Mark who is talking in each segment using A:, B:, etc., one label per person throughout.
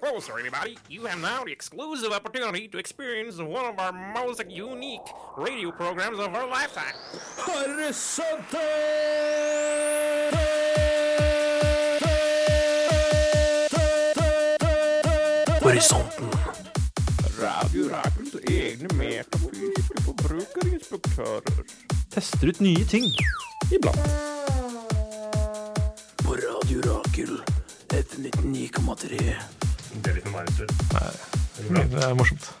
A: closer, everybody. You have now the exclusive opportunity to experience one of our most unique radio programs of our lifetime.
B: Horisonte! Horisonten.
C: Radio Rakels egne metafysiske forbrukerinspektører.
D: Tester ut nye ting.
C: Iblant.
B: På Radio Rakel. FM 99,3.
D: Det er morsomt.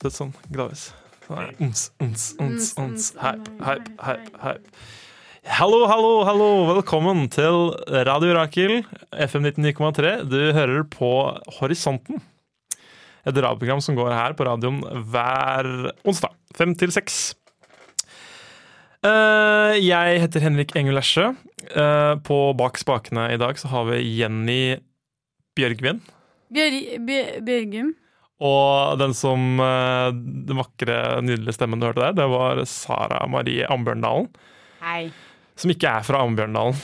D: Det er sånn glavis. Sånn her. Uns, uns, uns, uns. Hype, hype, hype, hype. Hallo, hallo, hallo! Velkommen til Radio Rakel, FM 99,3. Du hører på Horisonten. Et radioprogram som går her på radioen hver onsdag. Fem til seks. Eh, jeg heter Henrik Engel Ersjø. Eh, på Bak spakene i dag så har vi Jenny Bjørgvin.
E: Bjør, Bjør, Bjørgum.
D: Og den som eh, Den vakre, nydelige stemmen du hørte der, det var Sara Marie Ambjørndalen.
E: Hei.
D: Som ikke er fra Ambjørndalen.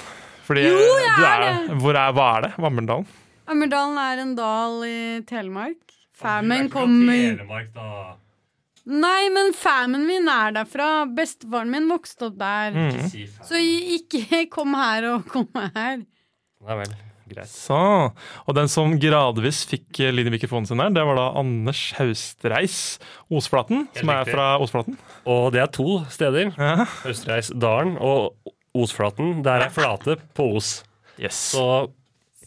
D: Fordi
E: Jo, jeg
D: du
E: er
D: Hvor er, hva er det? Ambjørndalen?
E: Ammerdalen er en dal i Telemark. Famen
F: Du er ikke fra
E: kommer
F: Telemark, da.
E: Nei, men famen min er derfra. Bestefaren min vokste opp der.
D: Mm.
F: Si faen.
E: Så ikke kom her og kom her.
D: Hm?
F: Nei vel, greit.
D: Så. Og den som gradvis fikk eh, lyd i mikrofonen sin der, det var da Anders Haustreis Osflaten. Som er
F: riktig.
D: fra Osflaten.
F: Og det er to steder.
D: Ja.
F: Østreisdalen og Osflaten. Der er flate på Os.
D: Yes.
F: Så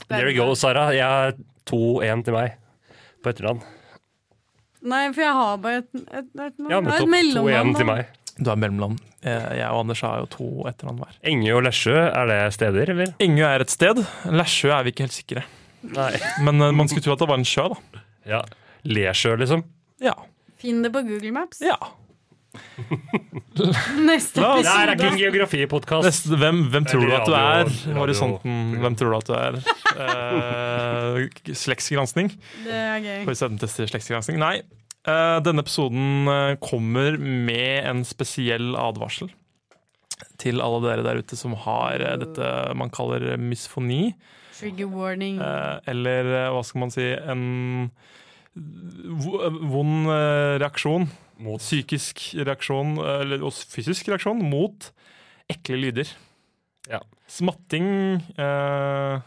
F: there you go, Sara. Jeg er 2-1 til meg på etternavn.
E: Nei, for jeg har bare et, et, et, et,
F: Ja,
E: et
F: nettopp. 2-1 til
E: mellomnavn. da.
F: meg.
D: Du er mellomland. Eh, Jeg og Anders har jo to etternavn hver.
F: Enge og Lesjø, er det steder, eller?
D: Engø er et sted. Læsjø er vi ikke helt sikre.
F: Nei.
D: Men eh, man skulle tro at det var en sjø, da.
F: Ja. Lesjø, liksom.
D: Ja.
E: Finn det på Google Maps.
D: ja.
E: Neste
D: La oss-
F: Det her er ikke
E: episode.
F: en geografipodkast.
D: Neste, hvem, hvem tror du at du
F: Radio-
D: er?
F: radio-
D: Horisonten. Hvem tror du at du er? Eh, slektsgransking.
E: Det er gøy.
D: Horisonten tester slektsgransking. Nei. eh, denne episoden eh, kommer med en spesiell advarsel til alle dere der ute som har eh, dette man kaller misfoni.
E: Trigger warning.
D: Eh, eller eh, hva skal man si En vo- eh, vond eh, reaksjon.
F: Mot.
D: Psykisk reaksjon, eh, eller også fysisk reaksjon, mot ekle lyder.
F: Ja.
D: Smatting eh,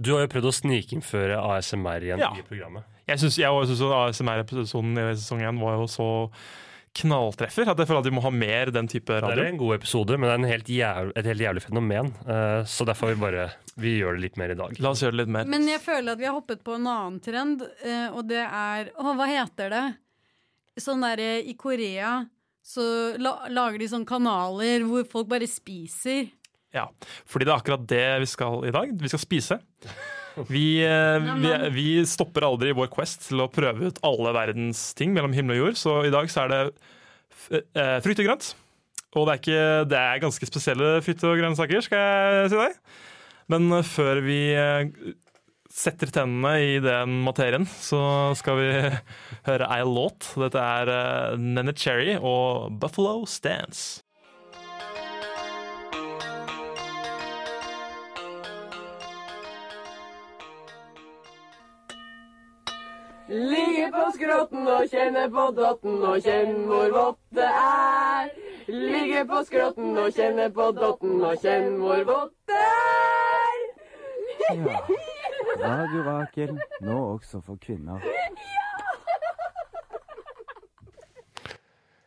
F: Du har jo prøvd å snikinnføre ASMR igjen
D: Ja.
F: i programmet.
D: Jeg syns ASMR-episoden i sesong 1 var jo så knalltreffer at jeg føler at vi må ha mer den type
F: Det er
D: radio.
F: en god episode, men det er en helt jæv et helt jævlig fenomen. Eh, så derfor har vi bare Vi gjør det litt mer i dag.
D: La oss gjøre det litt mer.
E: Men jeg føler at vi har hoppet på en annen trend, eh, og det er Å, hva heter det? Sånn derre i Korea så la, lager de sånne kanaler hvor folk bare spiser.
D: Ja, fordi det er akkurat det vi skal i dag. Vi skal spise. Vi, eh, vi, vi stopper aldri vår quest til å prøve ut alle verdens ting mellom himmel og jord. Så i dag så er det f- eh, frukt og grønt. Og det er, ikke, det er ganske spesielle frukt- og grønnsaker, skal jeg si deg. Men eh, før vi eh, setter tennene i den materien, så skal vi høre ei låt. Dette er eh, Nene Cherry og Buffalo Stance.
G: Ligge på skrotten og kjenne på dotten og kjenn hvor vått det er. Ligge på skrotten og kjenne på dotten og kjenn hvor vått det er.
H: Radio Rakel, nå også for kvinner.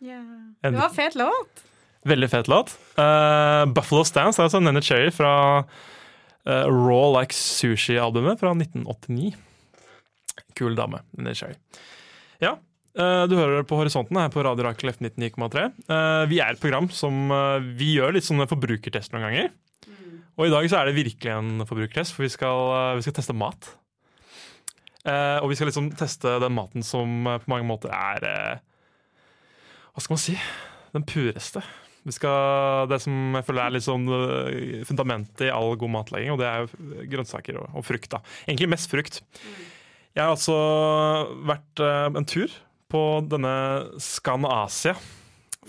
E: Det var fet låt.
D: Veldig fet låt. Eh, Buffalo Stance er altså Nene Cherry fra eh, Raw Like Sushi-albumet fra 1989. Kul dame, Nene Cherry. Ja, eh, du hører det på horisonten her på Radio Rakel F99,3. Eh, vi er et program som eh, vi gjør litt sånne forbrukertest noen ganger. Og i dag så er det virkelig en forbrukertest, for vi skal, eh, vi skal teste mat. Eh, og vi skal liksom teste den maten som eh, på mange måter er eh, Hva skal man si? Den pureste. Vi skal, det som jeg føler er litt sånn øh, fundamentet i all god matlaging, og det er jo grønnsaker og, og frukt. da. Egentlig mest frukt. Jeg har altså vært øh, en tur på denne Scan Asia,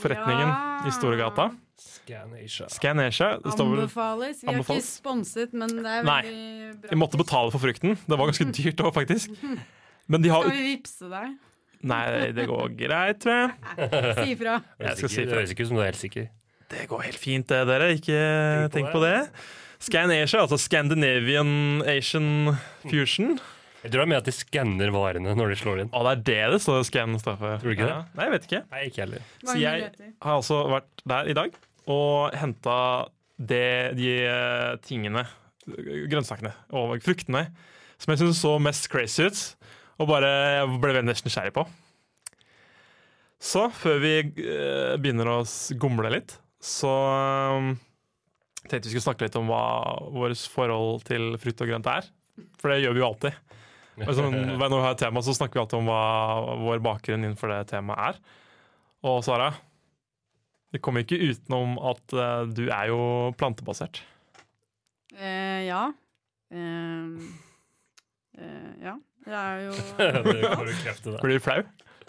D: forretningen
E: Ja.
D: i Storegata.
F: Scanasia.
D: Scanasia. Det står vel
E: Anbefales. Vi er ikke
D: Anbefales.
E: sponset, men det er
D: Nei.
E: veldig bra.
D: Vi måtte betale for frukten. Det var ganske dyrt òg, faktisk. Men de har
E: Skal vi vippse deg?
D: Nei, det går greit, tror jeg.
E: Si ifra.
D: Jeg skal si
F: det
D: fra.
F: høres ikke ut som du er helt sikker.
D: Det går helt fint, det, dere. Ikke tenk
F: Tenk
D: på
F: på
D: det. Scanasia, altså Scandinavian Asian Fusion.
F: Jeg tror det er med at de skanner varene når de slår inn.
D: Å, det er det det står scan står for.
F: Tror du ikke det?
D: Ja. Nei, jeg vet ikke.
F: Nei, ikke heller.
D: Så
E: Mange
D: jeg
E: muligheter.
D: har altså vært der i dag og henta det, de eh, tingene, grønnsakene og fruktene, som jeg syns så mest crazy ut, og bare jeg ble veldig nysgjerrig på. Så før vi eh, begynner å s- gomle litt, så eh, tenkte vi skulle snakke litt om hva vårt forhold til frukt og grønt er. For det gjør vi jo alltid. Og Sånn, når vi har et tema, så snakker vi alltid om hva vår bakgrunn innenfor det temaet er. Og Sara, vi kommer ikke utenom at eh, du er jo plantebasert.
E: Eh, ja. Ehm, eh, ja. Jeg er jo
F: Det kommer du kreft til det.
D: Blir du flau?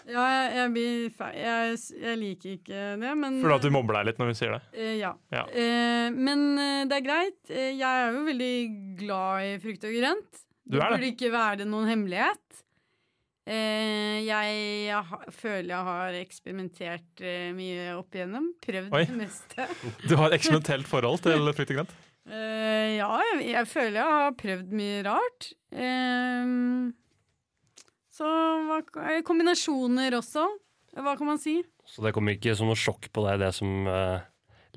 E: Ja, jeg, jeg blir feil. Jeg, jeg liker ikke det, men
D: Føler du at du mobber deg litt når vi sier det?
E: Eh, ja.
D: Ja.
E: Eh, men eh, det er greit. Eh, jeg er jo veldig glad i frukt og grønt.
D: Du er det.
E: burde ikke være noen hemmelighet. Eh, jeg, ha, føler jeg har eksperimentert eh, mye opp igjennom. Prøvd
D: Oi.
E: det meste.
D: Du har et eksperimentelt forhold til frukt og grønt.
E: Eh, ja, jeg, jeg føler jeg har prøvd mye rart. Eh, så hva, eh, kombinasjoner også. Hva kan man si?
F: Så det kommer ikke som noe sjokk på deg, det som eh,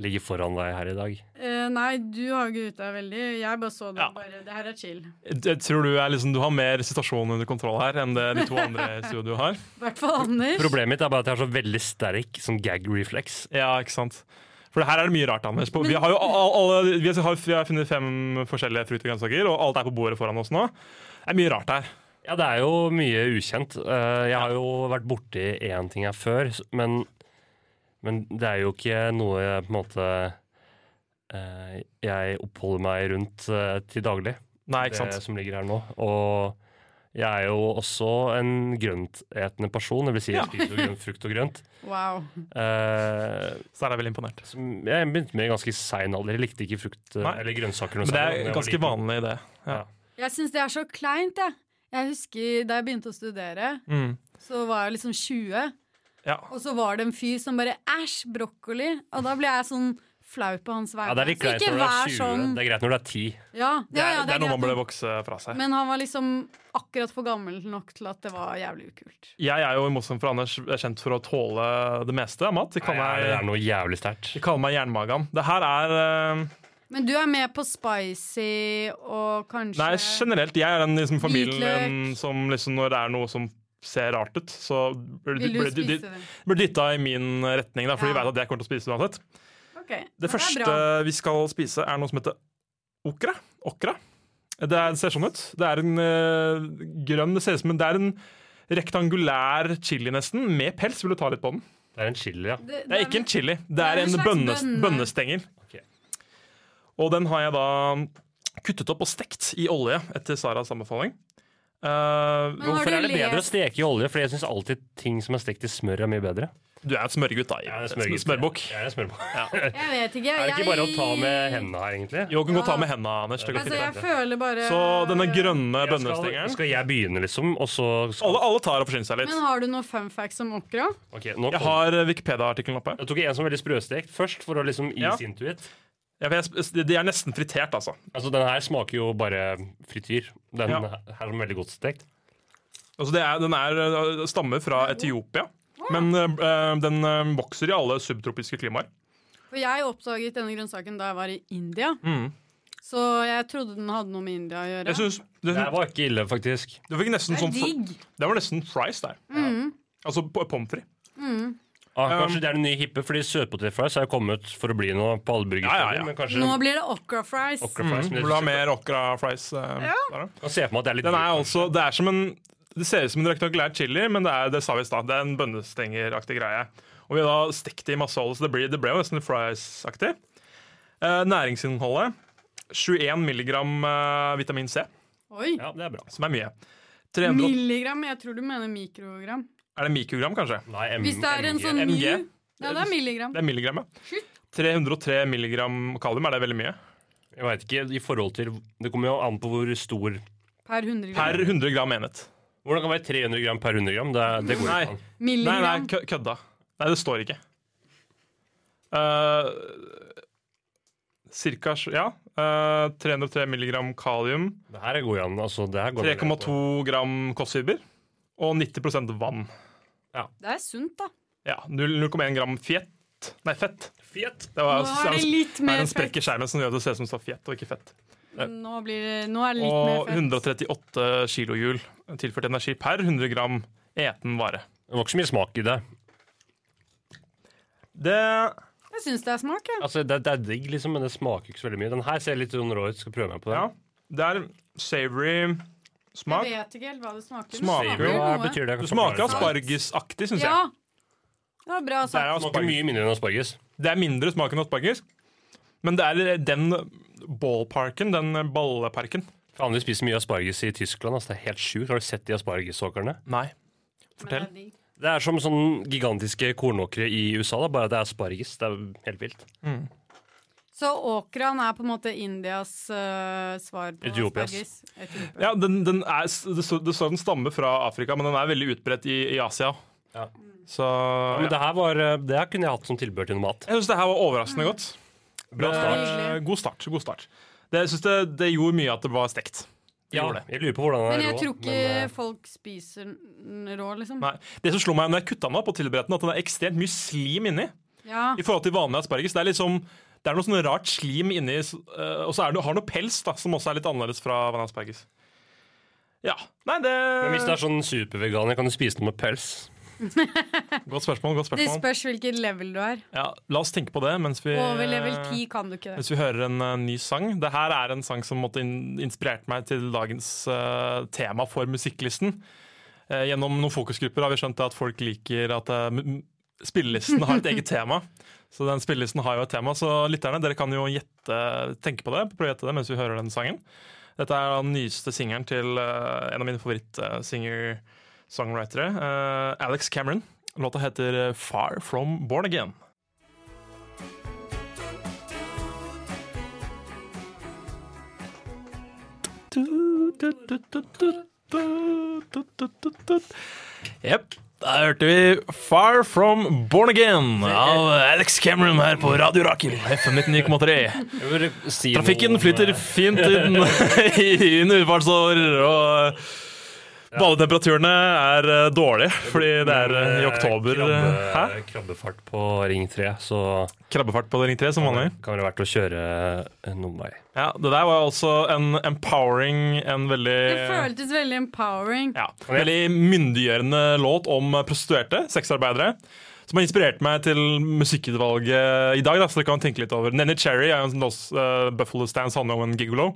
F: ligger foran deg her i dag.
E: Eh, nei, du har gruet deg veldig. Jeg bare så det.
D: Ja.
E: Bare, det her er chill.
D: Jeg tror du, er liksom, du har mer situasjonen under kontroll her enn det de to andre i studio har.
E: I hvert fall Anders.
F: Problemet mitt er bare at jeg har så veldig sterk sånn gag reflex.
D: Ja, ikke sant? For her er det mye rart, Anders. På- Vi har jo all- alle, vi har, vi har funnet fem forskjellige frukt- og grønnsaker, og alt er på bordet foran oss nå. Det er mye rart her.
F: Ja, det er jo mye ukjent. Eh, jeg har jo vært borti én ting her før, s- men, men det er jo ikke noe jeg på en måte eh, jeg oppholder meg rundt eh, til daglig,
D: Nei, ikke
F: det
D: sant?
F: som ligger her nå. Og jeg er jo også en grøntetende person, det vil si jeg
D: Ja.
F: spiser jo grønt, frukt og grønt.
E: Wow.
F: Eh,
D: Så er jeg veldig imponert.
F: som jeg begynte med i ganske sein alder. Jeg likte ikke frukt eh,
D: Nei.
F: eller grønnsaker. noe
D: Men det
F: særlig
D: er
F: når jeg
D: ganske
F: var liten.
D: vanlig, det. Ja.
E: Jeg syns det er så kleint, jeg. Jeg husker da jeg begynte å studere,
D: Mm.
E: så var jeg liksom 20,
D: ja.
E: og så var det en fyr som bare æsj, brokkoli. Og da ble jeg sånn flau på hans vegne.
F: Ja, det er litt
E: Så
F: greit
E: Altså, ikke
F: når du
E: vær
F: er
E: sånn.
F: 20. Det er greit når du er 10.
E: Ja,
D: Det
E: ja,
D: er,
E: ja,
D: det er noe
E: greit
D: man burde
E: nok.
D: vokse fra seg.
E: Men han var liksom akkurat for gammel nok til at det var jævlig ukult.
D: Jeg er jo i motstand fra Anders kjent for å tåle det meste av mat. De
F: Nei,
D: kaller
F: det er
D: meg,
F: noe jævlig sterkt.
D: de kaller meg jernmagan. Det her er eh,
E: Men du er med på spicy og kanskje
D: Nei, generelt. Jeg er den liksom, familien
E: Hvitløk.
D: min som liksom, når det er noe som ser rart ut, så blir
E: Vil du
D: blir-
E: spise
D: blir-
E: den?
D: blir dytta i min retning. Da, fordi jeg
E: Ja.
D: vet at jeg kommer til å spise det uansett.
E: Ok, men
D: Det
E: er
D: første
E: bra.
D: vi skal spise, er noe som heter okra. okra. Det, er, det ser sånn ut. Det er en eh, grønn Det ser ut som en, det er en rektangulær chili, nesten, med pels. Vil du ta litt på den?
F: Det er en chili, ja.
E: Det,
D: Det er ikke en chili, det
E: er
D: er
E: en
D: en
E: slags
D: bønnes,
E: bønne.
D: bønnestenger.
F: Ok.
D: Og den har jeg da kuttet opp og stekt i olje, etter Saras anbefaling. Eh,
E: har
D: hvorfor
E: du
D: er det
F: Det
D: bedre?
F: er bedre å steke i olje, for jeg syns alltid ting som er stekt i smør, er mye bedre.
D: Du er et smørgutt, da.
F: Jeg er en
D: Sm-
F: smørgutt.
D: Smørbukk.
F: Jeg er en smørbukk.
E: Jeg vet
F: Er det
E: ikke. jeg-
F: ikke bare å ta med hendene her, egentlig?
D: Jo, du kan godt ta med hendene, Anders. Det går
E: Altså, jeg
D: fint.
E: føler bare
D: Så denne grønne
F: Jeg skal,
D: bønnestengeren
F: skal jeg begynne, liksom? Og så skal,
D: alle, alle tar og forsyner seg litt.
E: Men har du noen fun facts om okra?
F: Ok, nå
D: Jeg har eh, Wikipedia-artikkelen oppe.
F: jeg tok en som er veldig sprøstekt først, for å liksom
D: Ja.
F: ease into it.
D: Ja, for jeg- De er nesten fritert, altså.
F: Altså, Den her smaker jo bare frityr. Den
D: Ja.
F: her er veldig godt stekt.
D: altså det er, den er, eh, stammer fra Etiopia, men eh, den eh, vokser i alle subtropiske klimaer.
E: For jeg oppdaget denne grønnsaken da jeg var i India. Så jeg trodde den hadde noe med India å gjøre.
D: Jeg synes, det,
F: Det her var ikke ille, faktisk.
D: det fikk nesten
E: det
D: sånn
E: er digg. Mm.
D: Det var nesten fries der. Altså p- pommes frites.
F: Ah,
D: Um,
F: kanskje det er den nye hippe, fordi søtpotet fries har jo kommet for å bli noe på alle burgersteder.
D: Ja, ja, ja.
F: Men kanskje
E: Nå blir det okra fries.
F: okra fries, men
D: Vil du ha mer okra fries? eh, der, da?
F: jeg kan se for meg at det er litt
D: Den er altså, det, er som en, det ser ut som en rektangulær chili, men det er, det sa vi i stad, det er en bønnestengeraktig greie. Og vi har da stekt det i masse olje, så det ble, det ble jo nesten fries-aktig. Eh, næringsinnholdet 21 milligram eh, vitamin C,
E: Oi.
F: Ja, det er bra.
D: som er Mm, mye. 300,
E: Milligram? Jeg tror du mener mikrogram.
D: er det mikrogram, kanskje?
F: Nei, M
E: Hvis det er en
F: MG.
E: sånn
D: MG.
E: mu Ja, det er milligram.
D: Det er milligram, ja. 303 milligram kalium, er det veldig mye?
F: Jeg veit ikke i forhold til Det kommer jo an på hvor stor
E: Per 100 gram.
D: Per 100 gram enhet.
F: Hvordan kan det være 300 gram per 100 gram? Det, det går
D: Nei.
F: ikke an.
D: Nei, nei,
E: Milligram.
D: kø- kødda. Nei, det står ikke. Eh, cirka sj- Ja. eh, 303 milligram kalium,
F: Det her går jo an. Altså, det her går vel an.
D: 3,2 gram kostfiber og 90 vann.
E: Det er sunt, da.
D: Ja, 0,1 gram fett. Nei, fett.
F: Fett.
D: Det var,
E: Nå er det litt
D: det er
E: mer
D: en sprekk
E: fett.
D: i skjermen som gjør at det ser ut som det står fett og ikke fett.
E: Nå, blir det, nå er det litt mer
D: Og
E: fett.
D: 138 kilohjul tilført energi per 100 gram eten vare.
F: Det var ikke så mye smak i det.
D: Det
E: Jeg syns det er smak, jeg.
F: Altså, det, det er digg, liksom, men det smaker ikke så veldig mye. Den her ser litt sånn rå ut. Skal prøve meg på
D: Ja.
F: den.
D: Det er savory
E: Jeg
D: smak.
E: vet ikke helt hva det smaker. men
D: Smaker
E: det
D: jo-
F: Hva
E: noe.
F: betyr det?
D: Det smaker
F: Forklare det.
D: aspargesaktig, syns
E: Ja.
D: jeg.
E: Det var bra
D: Det er,
E: sagt.
F: Smaker
D: asparges.
F: mye mindre enn asparges.
D: det er mindre smak enn asparges, men det er eh, den ballparken, den eh, balleparken.
F: Faen, vi spiser mye asparges i Tyskland. Altså, det er helt sjukt. Har du sett de aspargesåkrene?
D: Nei.
E: Men det er
D: Fortell.
E: digg.
F: Det er som sånn gigantiske kornåkre i USA, da, bare at det er asparges. Det er helt vilt.
E: Så åkran er på en måte Indias øh, svar på
F: Etiopias.
E: asparges? Etiopia.
D: Ja, den, den er, det står det står den stammer fra Afrika, men den er veldig utbredt i, i Asia.
F: Ja.
D: Så
F: Men
D: ja.
F: det her var eh, Det her kunne jeg hatt som tilbehør til noe mat.
D: Jeg syns det her var overraskende godt.
F: Bra start.
D: Eh, God start. god start. Det, jeg synes det, det gjorde mye at det var stekt. Det
F: Ja,
D: gjorde det.
F: jeg lurer på hvordan den
E: Men
F: er
E: jeg
F: rå,
E: tror ikke
F: men, eh,
E: folk spiser den rå, liksom.
D: Nei. Det som slo meg når jeg kutta den opp, og tilberedte den, at den er ekstremt mye slim inni.
E: Ja.
D: I forhold til vanlig asparges. Det er liksom det er noe sånn rart slim inni, s- eh, og så er det, har det noe pels da, som også er litt annerledes fra vanlig asparges. Ja. Nei, det,
F: men hvis det er sånn superveganer, kan du spise noe med pels?
D: Godt spørsmål. godt
E: Det
D: spørsmål.
E: spørs hvilket level du er.
D: Ja, la oss tenke på det mens vi,
E: Over level 10 kan du ikke det.
D: mens vi hører en eh, ny sang. Det her er en sang som måtte in inspirerte meg til dagens eh, tema for musikklisten. Eh, gjennom noen fokusgrupper har vi skjønt at folk liker at eh, m- m- spillelisten har et eget tema. Så den spillelisten har jo et tema, så lytterne dere kan jo gjette, tenke på det, prøve å gjette det mens vi hører den sangen. Dette er den nyeste singelen til eh, en av mine favoritt-singer-songwritere, eh, Alex Cameron. Låta heter eh, Far From Born Again. Jepp. Da hørte vi Far From Born Again av Alex Cameron her på Radio Rakel, FM 99,3.
F: Jeg vil si noe
D: Trafikken
F: om,
D: flyter
F: eh,
D: fint inn i en ufartsår, og badetemperaturene er eh, dårlige, fordi det er eh, i oktober. eh, Hæ?
F: Krabbe, krabbefart på Ring 3, så
D: Krabbefart på Ring 3 som vanlig.
F: kan det være verdt å kjøre eh, noen vei.
D: Ja, Det der var også en empowering, en veldig
E: Det føltes veldig empowering.
D: eh, Ja, en Veldig myndiggjørende låt om prostituerte, sexarbeidere. Som har inspirert meg til musikkutvalget i dag. Da, så dere kan tenke litt over Nenny Cherry er jo en lås, eh, Buffalo Stands handler om en gigolo,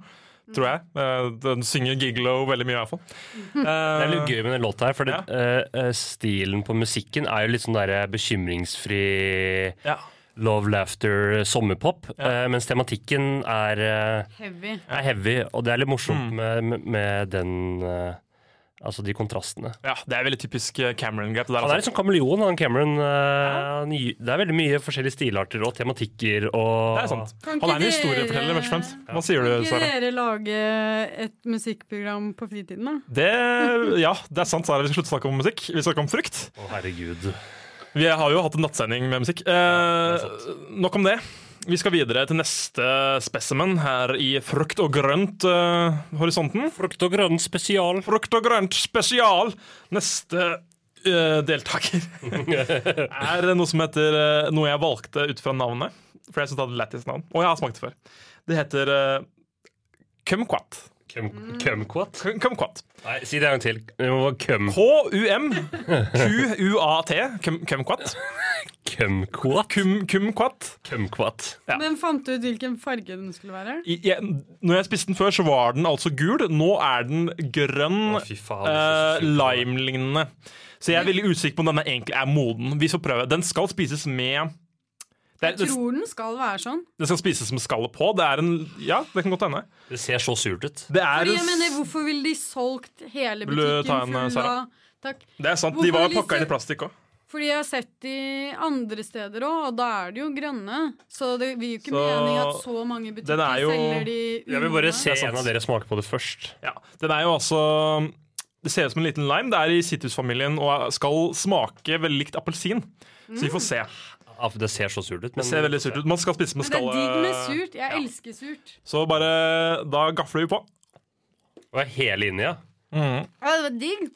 F: Mm.
D: tror jeg. Eh, den synger gigolo veldig mye, i hvert fall.
F: Mm. Det
D: Eh,
F: er litt gøy med den låta her, for det, eh, eh, stilen på musikken er jo litt sånn der bekymringsfri
D: Ja.
F: love, laughter, sommerpop. eh, mens tematikken er, eh,
E: Heavy.
F: er heavy, og det er litt
D: Mm.
F: morsomt med, med, med den eh, Altså de kontrastene.
D: ja, det er veldig typisk eh, Cameron-grep. det der,
F: Han er
D: altså.
F: litt sånn kameleon, han Cameron. eh, han gi- det er veldig mye forskjellige stilarter og tematikker og
D: Det er sant.
E: Kan
D: Han er
E: ikke
D: en
E: dere-
D: historieforteller, først og fremst. Hva sier
E: Kan
D: du,
E: ikke
D: Sara?
E: dere lage et musikkprogram på fritiden, da?
D: Det, ja, det er sant, Sara. Vi skal slutte å snakke om musikk. Vi skal snakke om frukt.
F: Å, herregud.
D: Vi har jo hatt en nattsending med musikk. Eh, nok om det. Vi skal videre til neste spesimen her i Frukt og grønt-horisonten.
F: Frukt og grønn spesial.
D: Frukt og grønt spesial. Neste eh, deltaker er noe som heter eh, Noe jeg valgte ut fra navnet. For jeg syns det hadde lættis navn. Og jeg har smakt det før. Det heter eh, kumquat. Mm.
F: Cum- Kumquat?
D: Kum- Kumquat.
F: Nei, si det en gang til. Det må være cum...
D: H-u-m-q-u-a-t. Kum- Kumquat.
F: Kumquat?
D: Kum- Kumquat.
F: Kumquat.
D: Ja.
E: Men fant du ut hvilken farge den skulle være?
D: I- jeg, når jeg spiste den før, så var den altså gul. Nå er den grønn,
F: Å, fy faen, det ser så
D: eh,
F: sjukt ut.
D: lime-lignende. Så jeg er veldig usikker på om denne egentlig er moden. Vi får prøve. Den skal spises med det,
E: Jeg
D: er, det,
E: tror den skal være sånn.
D: det skal spises med skallet på. Det er en Ja, det kan godt hende.
F: Det ser så surt ut.
D: Det er,
E: Fordi jeg mener, hvorfor ville de solgt hele
D: Vil du ta
E: butikken
D: en,
E: full
D: Sara?
E: av Takk.
D: det er sant.
E: hvorfor
D: De var
E: vil de
D: pakka inn
E: se-
D: i plastikk òg.
E: Fordi jeg har sett de andre steder òg, og da er de jo grønne. Så det vil jo ikke
D: Så
E: mening at så mange
D: den er
E: butikker
D: jo-
E: selger de
F: Jeg vil bare
E: umoderne.
F: se
D: Det er sant.
F: en av dere smake på det først.
D: Ja, Den er jo altså Det ser ut som en liten lime. Det er i sitrusfamilien og skal smake veldig likt appelsin. Så vi får se.
F: Ja, for Det ser så surt ut.
D: Det ser veldig surt ut. Man skal spise med
E: Men det er
D: skallet.
E: digg med surt. Jeg elsker surt.
D: Så bare Da gafler vi på.
F: Og er hele inni, ja.
E: Ja, det var digg.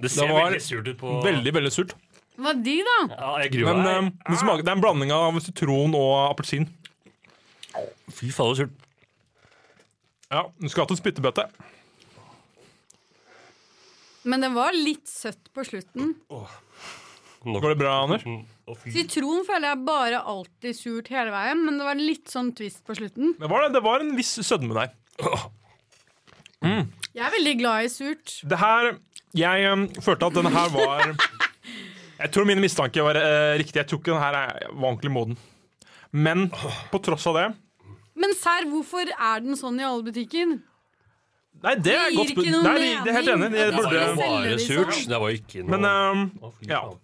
F: Det ser
D: var
F: veldig surt ut på
D: Veldig, veldig surt.
E: Det var digg, da.
F: Ja, jeg gruer
D: Men
F: meg.
D: eh, det, smaker, det er en blanding av sitron og appelsin.
F: Fy fader, surt.
D: Ja, Du skulle hatt en spyttebøtte.
E: Men den var litt søtt på slutten.
F: Nok.
D: Går det bra, Anders?
F: Mm, Å, fy.
E: Sitron føler jeg bare alltid surt hele veien, men det var litt sånn twist på slutten.
D: Det var, det, det var en viss sødme der.
E: Jeg er veldig glad i surt.
D: Det her Jeg em, følte at denne her var Jeg tror mine mistanker var eh, riktige. Jeg tror ikke den her er- var ordentlig moden. Men på tross av det
E: Men serr, hvorfor er den sånn i alle butikker?
D: Nei, det er
E: Det
D: godt
E: gir ikke
D: spurt.
E: noen
D: Nei, det er helt
E: mening
D: enig. Det
E: at de
F: Det var
D: burde,
F: jo bare
E: skal selge de
F: surt.
E: sånn.
F: Det var jo ikke noe
D: men em,
F: Å, fy
D: ja.
F: faen.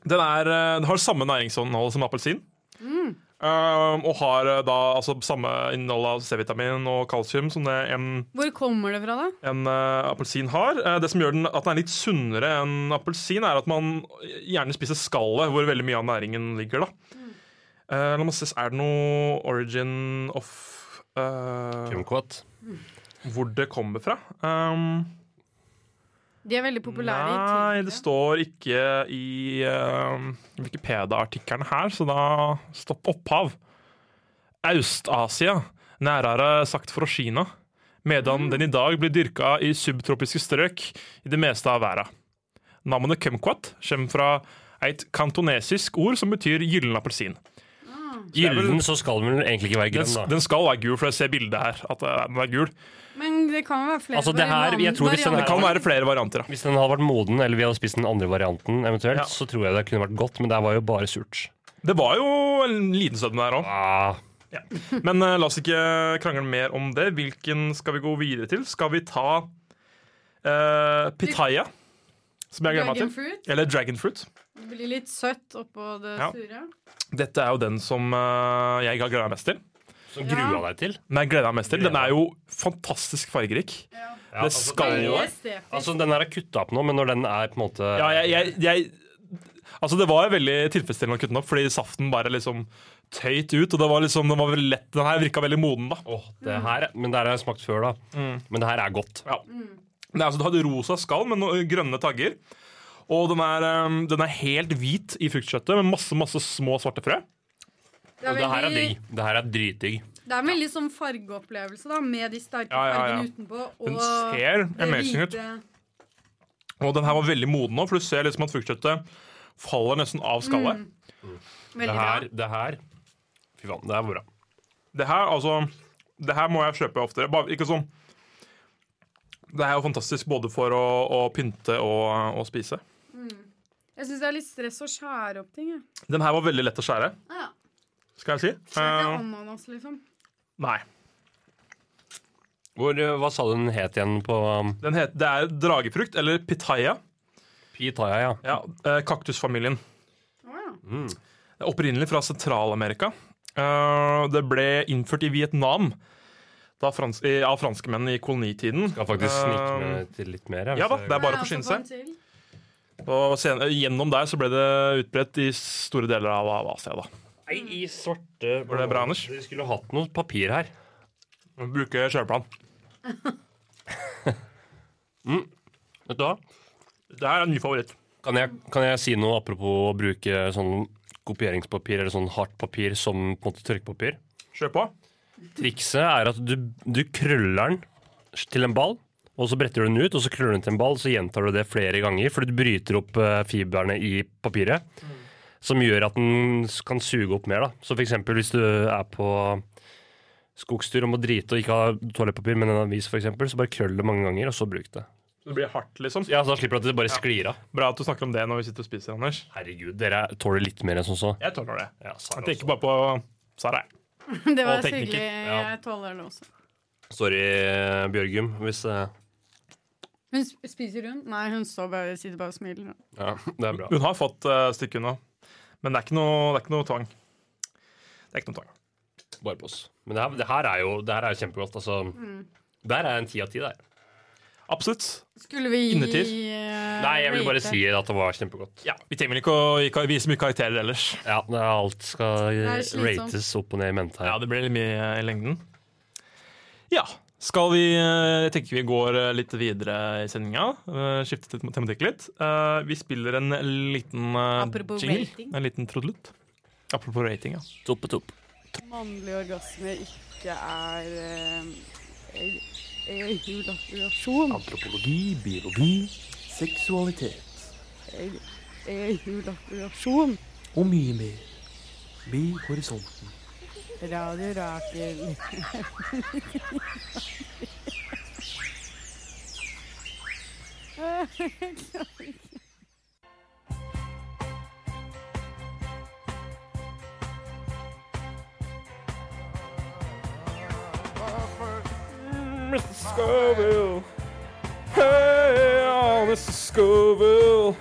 D: Den er, eh, den har samme næringsinnhold som appelsin.
E: Mm.
D: Um, og har eh, da altså, samme innhold av C-vitamin og kalsium som det en,
E: Hvor kommer det fra, da?
D: en eh, appelsin har. Eh, det som gjør den, at den er litt sunnere enn appelsin, er at man gjerne spiser skallet, hvor veldig mye av næringen ligger. da. Eh, la meg se, Er det noe origin of eh,
F: Kumquat.
D: Hvor det kommer fra? Um,
E: De er veldig populære
D: Nei,
E: i
D: det
E: Tyrkia.
D: står ikke i eh, Wikipedia-artikkelen her, så da stopp opphav. Aust-Asia, nærere sagt fra Kina, medan den i dag blir dyrka i subtropiske strøk i det meste av verden. Navnet kumquat kommer fra et kantonesisk ord som betyr gyllen appelsin.
F: Gyllen, så skal den vel egentlig ikke være
D: Den,
F: grønn, da.
D: den skal være gul, for jeg ser bildet her at eh, den er gul.
E: Men det kan jo være flere
F: Altså, det her- jeg tror hvis den
D: Det
E: varianter.
D: kan være flere varianter. da.
F: Hvis den hadde vært moden, eller vi hadde spist den andre varianten eventuelt,
D: Ja.
F: så tror jeg det kunne vært godt, men det her var jo bare surt.
D: Det var jo en liten sødme der òg.
F: Ah,
D: Men eh, la oss ikke krangle mer om det. Hvilken skal vi gå videre til? Skal vi ta eh, pitaya, som jeg gleder meg
E: Dragon
D: til?
E: fruit
D: Eller dragonfruit.
E: det blir litt søtt oppå det
D: Ja.
E: sure.
D: Dette er jo den som eh, jeg har gleda meg mest til.
F: som grua deg til.
D: Men jeg gleder meg mest til. Den er jo fantastisk fargerik.
F: Ja,
D: Det skal
E: Veldig
D: jo
E: estetisk.
F: Altså, den her er kutta opp nå, men når den er på en måte
D: Ja, jeg, jeg, jeg Altså, det var veldig tilfredsstillende å kutte den opp, fordi saften bare liksom tøyt ut. Og det var liksom, den var veldig lett. Den her virka veldig moden, da.
F: Åh, det her, Men det her har jeg smakt før, da.
D: Mm.
F: Men det her er godt.
D: Ja. Det er altså, Du hadde rosa skall med noen grønne tagger. Og den er, um, den er helt hvit i fruktkjøttet med masse masse små svarte frø.
E: Det er
F: Og det her er
E: veldig-
F: digg. Det her er dritdigg.
E: Det er en veldig sånn fargeopplevelse, da, med de sterke
D: Ja, ja, ja.
E: fargene utenpå. Og
D: Den ser
E: det
D: amazing ut.
E: hvite.
D: Og den her var veldig moden nå, for du ser liksom at fruktkjøttet faller nesten av skallet.
F: Det
E: Mm, Veldig
F: her,
E: bra.
F: det her Fy faen, det er bra.
D: Det her altså, det her må jeg kjøpe oftere. Bare, ikke sånn Det her er jo fantastisk både for å, å pynte og, og spise.
E: Jeg syns det er litt stress å skjære opp ting. Jeg.
D: Den her var veldig lett å skjære,
E: Ah, ja.
D: skal jeg si.
E: Det er
D: Eh,
E: ikke ananas, liksom.
D: nei.
F: Hvor, eh, hva sa du den het igjen på um,
D: Den het, det er dragefrukt, eller pitaya.
F: Pitaya, ja.
D: Ja, eh, kaktusfamilien.
E: Å, ja.
D: Det er opprinnelig fra Sentral-Amerika. Eh, det ble innført i Vietnam da frans i, av franskmennene i kolonitiden.
F: Skal faktisk snike
D: Eh,
F: med til litt mer.
D: ja da,
F: hvis
D: det er bare å
E: Ja, altså,
D: forsyne
E: så får
D: seg.
E: den til.
D: Og sen gjennom der så ble det utbredt i store deler av, av Asia. da.
F: Nei, i svarte
D: Var det bra, Anders?
F: Vi skulle hatt noe papir her.
D: Man Bruker kjøreplan.
F: Vet du hva?
D: Det her er en ny favoritt.
F: Kan jeg, kan jeg si noe apropos å bruke sånn kopieringspapir eller sånn hardt papir som på en måte tørkepapir?
D: Kjør på.
F: Trikset er at du, du krøller den til en ball, og så bretter du den ut, og så krøller du den til en ball, så gjentar du det flere ganger, fordi du bryter opp eh, fiberne i papiret, som gjør at den s- kan suge opp mer. Da. Så for eksempel hvis du er på skogstur og må drite og ikke har toalettpapir, men en avis for eksempel, så bare krøll det mange ganger, og så bruk det.
D: Det blir hardt, liksom.
F: Ja, så da slipper du at det bare sklir av.
D: Bra at du snakker om det når vi sitter og spiser, Anders.
F: Herregud, dere tåler litt mer enn som så.
D: Jeg tåler det.
F: Ja, Sara
D: Jeg tenker
F: også.
D: bare på Sara. jeg.
E: Det
D: Og
E: var så
D: teknikker.
E: hyggelig.
F: Ja.
E: Jeg tåler det også.
F: eh, Sorry, Bjørgum, hvis eh,
E: Hun sp- spiser hun? Nei, hun står bare, sitter bare og smiler.
F: Ja, det er bra.
D: Hun har fått uh, stykket unna, men det er ikke noe, det er ikke noe tvang. Det er ikke noe tvang.
F: Bare på oss. Men det her, det her er jo det her er jo kjempegodt. Altså,
E: Mm.
F: Der er en ti av ti, der.
D: Absolutt.
E: Skulle vi gi
D: Innertid?
E: eh,
F: Nei, jeg vil bare
E: rate?
F: si at det var kjempegodt.
D: Ja, Vi trenger vel ikke å gi ka- vise mye karakterer ellers.
F: Ja, det er alt skal
E: Det er slitsomt.
F: rates opp og ned i mente
D: Ja,
F: her.
D: det blir litt mye eh, i lengden. Ja. Skal vi eh, Jeg tenker vi går eh, litt videre i sendinga. eh, Skifter til tematikk litt. Eh, Vi spiller en liten eh,
E: Apropos
D: jingle.
E: rating.
D: En liten trudelutt. Apropos rating, ja.
F: Topp og topp.
G: Mannlige orgasmer ikke er eh, Ejakulasjon.
B: Antropologi, biologi, seksualitet
G: Ejakulasjon.
B: og mye mer. Bi horisonten.
G: Radio Rakel.
C: Mr. Scoville. Hey, oh, Mr. Scoville.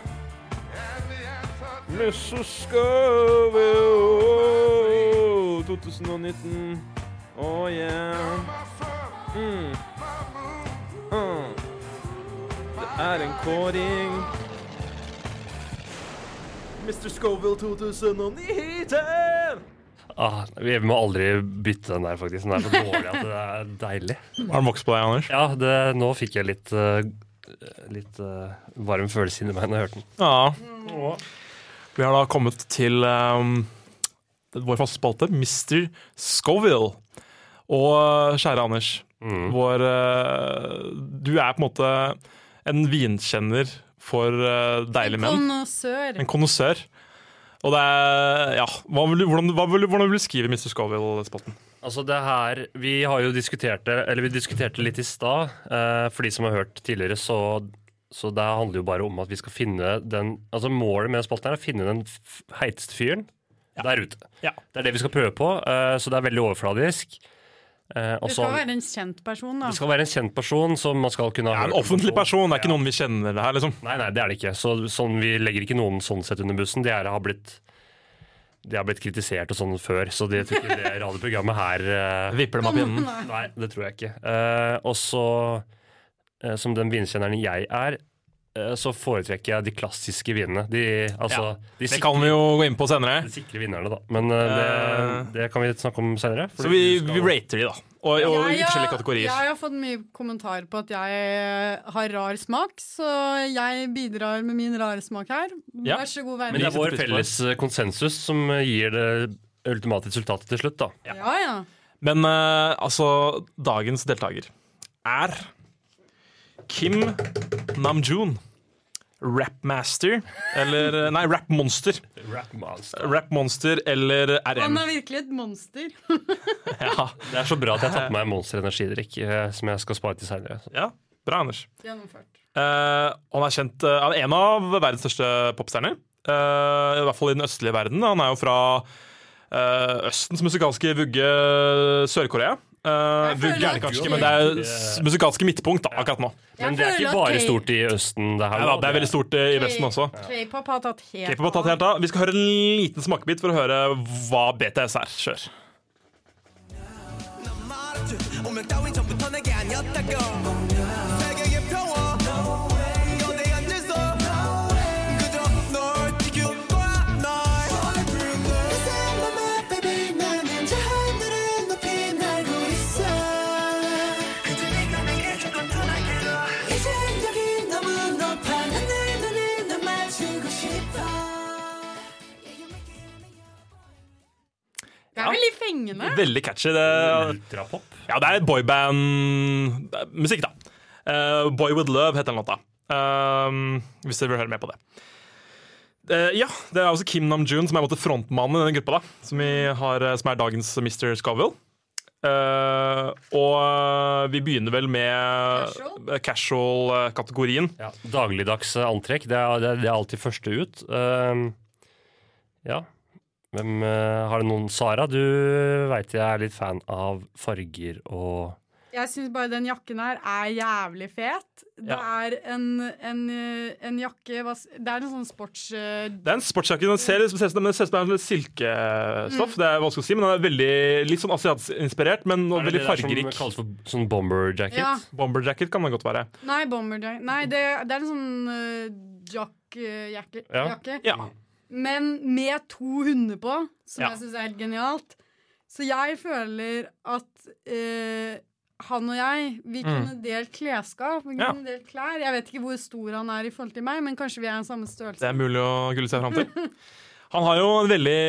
C: Mr. Scoville. 2019. Oh yeah. Mm. Mm. Det er en kåring. Mr. Scoville 2019!
F: Ah, vi vi må aldri bytte den der, faktisk. Den er så dårlig at det er deilig.
D: Har den vokst på deg, Anders?
F: Ja, det, nå fikk jeg litt eh, Litt eh, varm følelse inni meg når jeg hørte den.
D: Ja. Vi har da kommet til um, vår faste spalte, Mr. Scoville. Og uh, kjære Anders, vår uh, Du er på en måte en vinkjenner for uh, deilige menn.
E: Konnøsør.
D: En konnoissør. Og det er Ja, hva vil du, hvordan, hva vil, du- hvordan vil du skrive Mr. Scoville-spotten?
F: Altså det her, Vi har jo diskutert det eller vi diskuterte det litt i stad. Eh, for de som har hørt tidligere, så, så det handler jo bare om at vi skal finne den altså Målet med spalten her er å finne den f- heiteste fyren der ute.
D: Ja.
F: Det er det vi skal prøve på, eh, så det er veldig overfladisk. Eh, og
E: Du
F: så-
E: skal være en kjent person, da.
F: det skal være en kjent person som man skal kunne ha
D: Ja, en
F: hørt om
D: offentlig
F: på.
D: person, det er ikke
F: Ja.
D: noen vi kjenner det her, liksom.
F: Nei, nei, det er det ikke. Så, sånn, vi legger ikke noen sånn sett under bussen. De her har blitt de har blitt kritisert og sånn før, så det tror ikke det radioprogrammet her eh,
D: Vipper dem opp i enden.
F: Nei, det tror jeg ikke. Eh, og så, eh, som den vinkjenneren jeg er, eh, så foretrekker jeg de klassiske vinene. De, altså,
D: Ja,
F: de,
D: Det
F: sikre,
D: kan vi jo gå inn på senere.
F: de sikre vinnerne, da. Men eh, det, det kan vi snakke om senere.
D: Så vi, vi rater de, da. Og, og i
E: Jeg har-
D: forskjellige kategorier.
E: Jeg har fått mye kommentar på at jeg eh, har rar smak, så jeg bidrar med min rare smak her.
D: Ja.
E: Vær så god, vær
F: Men
E: med.
F: det
D: de
F: er vår
D: setter pris på
F: felles eh, konsensus som eh, gir det ultimate resultatet til slutt, da.
E: Ja, ja.
D: Men eh, altså, dagens deltaker er Kim Namjoon. Rapmaster, eller eh, Nei, Rapmonster.
F: Rap monster.
D: Rapmonster eller
E: Han
D: RM.
E: er virkelig et monster.
D: Ja,
F: Det er så bra at jeg har tatt med meg Monster energidrikk, eh, som jeg skal spare til senere.
D: ja bra, Anders.
E: Gjennomført.
D: Eh, han er kjent eh, Han er en av verdens største popstjerner. Eh, I hvert fall i den østlige verden. Han er jo fra eh, Østens musikalske vugge Sør-Korea. Eh,
E: Jeg føler
D: vugge er det
E: at-
D: kanskje ikke, men det er s- musikalske midtpunkt da, akkurat nå.
F: Men det er
E: føler
F: ikke
E: at
F: bare
E: K-
F: stort i Østen, det her.
D: Ja, da,
F: nå.
D: det er veldig stort eh, i Vesten også.
E: K-pop har tatt helt
D: K-pop har tatt helt av. Vi skal høre en liten smakebit for å høre hva BTS er. Kjør.
E: Det er veldig fengende.
D: Veldig catchy. Det,
F: Ultrapop.
D: ja, det er boyband-musikk, da. Eh, Boy With Love heter den låta. Eh, hvis dere vil høre mer på det. Eh, ja, det er også Kim Namjoon som er på en måte frontmannen i denne gruppa, da, som, vi har, eh, som er dagens Mr. Scoville. Eh, og eh, vi begynner vel med eh, casual-kategorien.
F: Ja, dagligdags eh, antrekk, det er, det er, det er alltid første ut. Ehm, ja. Hvem eh, Har det noen Sara? Du veit jeg er litt fan av farger og
E: Jeg syns bare den jakken her er jævlig fet. Det
D: Ja.
E: er en, en, eh, en jakke hva s- Det er en sånn sports... eh,
D: Det er en sportsjakke. Den ser ut som men den ser ut som en silkestoff. Det er vanskelig å si, men den er veldig, litt sånn asiatinspirert, men
F: Mm. Er det
D: veldig
F: det der
D: fargerik.
F: Som kalles for sånn bomber jacket?
E: Ja.
D: Bomberjacket kan den godt være.
E: Nei, bomber jack. Nei, det, det er en sånn eh, jack, eh, jakke,
F: Ja.
E: jakke.
D: Ja.
F: Mm.
E: Men med to hunder på, som
D: Ja.
E: jeg syns er helt genialt. Så jeg føler at eh, han og jeg, vi kunne delt klesskap. Vi
D: Mm. Ja.
E: kunne delt klær. Jeg vet ikke hvor stor han er i forhold til meg, men kanskje vi er den samme størrelse.
D: Det er mulig å gulle seg fram til. Han har jo en veldig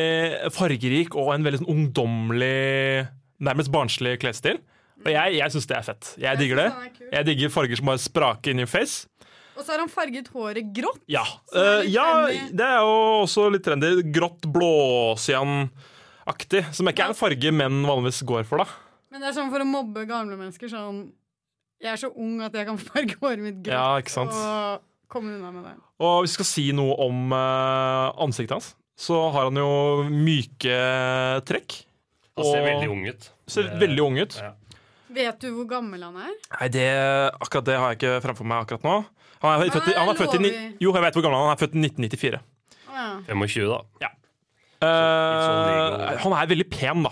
D: fargerik og en veldig sånn ungdommelig, nærmest barnslig klesstil. Og jeg, jeg syns det er fett. Jeg digger det.
E: synes han er kul.
D: Jeg digger farger som bare spraker in your face.
E: Og så har han farget håret grått.
D: Ja.
E: Så det er
D: Eh,
E: litt
D: ja,
E: trendy.
D: det er jo også litt trendy. Grått blåsianaktig, som ikke er en farge menn vanligvis går for, da.
E: Men det er sånn for å mobbe gamle mennesker. Sånn Jeg er så ung at jeg kan farge håret mitt grått
D: Ja, ikke sant?
E: og komme unna med det.
D: Og hvis vi skal si noe om eh, ansiktet hans, så har han jo myke trekk.
F: Han ser
D: Og-
F: veldig ung ut.
D: Ser veldig ung ut.
F: Ja.
E: Vet du hvor gammel han er?
D: Nei, det, akkurat det har jeg ikke framfor meg akkurat nå. Han er født, i- han er født i ni,
E: lover.
D: Jo, jeg vet hvor gammel han er. Han er født i 1994.
E: Å ja.
F: 25, da. sånn
D: Eh,
F: legal.
D: han er veldig pen, da.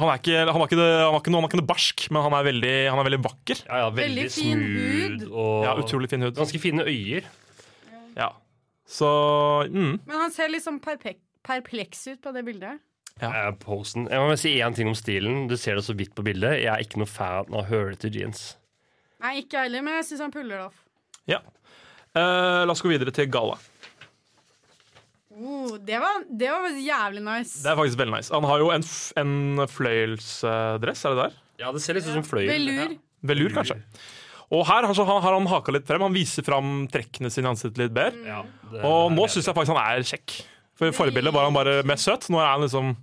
D: Han er ikke, han var ikke, det, han var ikke, noe, han var ikke noe barsk, men han er veldig, han er veldig vakker.
F: Ja, ja, veldig,
E: Veldig fin
F: smooth
E: hud.
F: og
D: Ja, Utrolig fin hud.
F: ganske fine øyer.
D: Ja. Så mm.
E: Men han ser litt sånn perpek- perpleks ut på det bildet.
F: Eh, posen. Jeg må bare si én ting om stilen. Du ser det så vidt på bildet. Jeg er ikke noe fan av hølete jeans.
E: Nei, ikke jeg heller, men jeg syns han puller det off.
D: ja. Eh, la oss gå videre til gala.
E: Oh, det, var, det var faktisk jævlig nice.
D: Det er faktisk veldig nice. Han har jo en, f en fløyelsdress, er det der?
F: Ja, det ser litt ut som fløyel.
E: Velur.
D: Velur,
F: Mm.
D: kanskje. Og her har, så, har han haka litt frem. Han viser frem trekkene sine i ansiktet litt bedre.
F: Ja, det-
D: Og nå syns jeg faktisk han er kjekk. For I forbildet var han bare mer søt. Nå er han liksom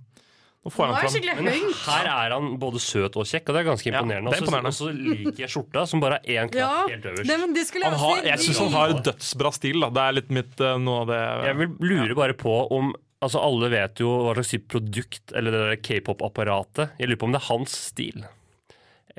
D: Nå får
E: Han
D: han
E: var
D: fram.
E: skikkelig
F: Men
E: høy.
F: her er han både søt og kjekk, og det er ganske
D: Ja,
F: imponerende.
D: det er imponerende.
F: Og så liker jeg skjorta, som bare har én
E: Ja,
F: knapp helt øverst.
E: det, men det skulle
D: Han
E: jeg
D: har,
E: også
D: jeg
E: si.
D: syns han har dødsbra stil. Da. Det er litt mitt eh, noe av det
F: Jeg vil lure bare på om Altså, Alle vet jo hva slags type produkt eller det der k-pop-apparatet. Jeg lurer på om det er hans stil.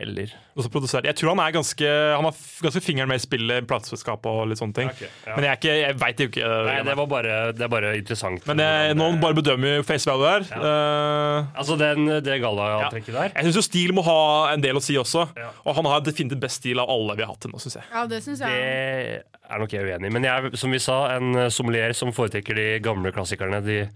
F: Eller
D: også produserer. Jeg tror han er ganske Han har f- ganske fingeren med i spillet, plateselskap og litt sånne ting.
F: Ok, ja.
D: Men jeg, er ikke- jeg veit jo ikke. eh,
F: Nei, det, var bare, det er bare interessant.
D: men jeg, nå bare bedømmer vi face value her. Eh,
F: Altså, den, det gallaantrekket der
D: jeg syns jo stil må ha en del å si også.
F: Ja.
D: Og han har definitivt best stil av alle vi har hatt til nå, syns jeg.
E: Ja, det syns
F: Det
E: jeg.
F: er nok jeg uenig i. Men jeg er, som vi sa, en eh, sommelier som foretrekker de gamle klassikerne. De,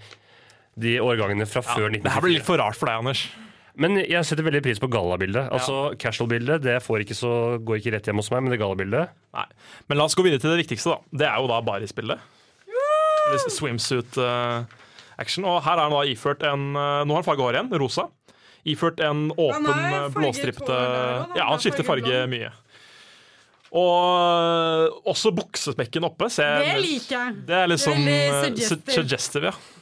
F: de årgangene fra før
D: Det her
F: 1994.
D: blir litt for rart for deg, Anders.
F: Men jeg setter veldig pris på gallabildet. Altså, Casual-bildet det får ikke så, går ikke rett hjem hos meg, men det gallabildet
D: Nei. Men la oss gå videre til det viktigste, da. Det er jo da barisbildet. Eller Swimsuit eh, action. Og her er han da iført en eh, Nå har han farget hår iggen, rosa. Iført en åpen,
E: har
D: eh,
E: farget hår
D: blåstripte
E: der også, da.
D: Ja,
E: Han
D: han skifter
E: farger
D: farge
E: blond.
D: mye. Og eh, også buksesmekken oppe. Ser
E: Det
D: mer-
E: liker jeg.
D: Det er litt sånn
E: Veldig
D: eh, su-
E: suggestive.
D: suggestive, ja.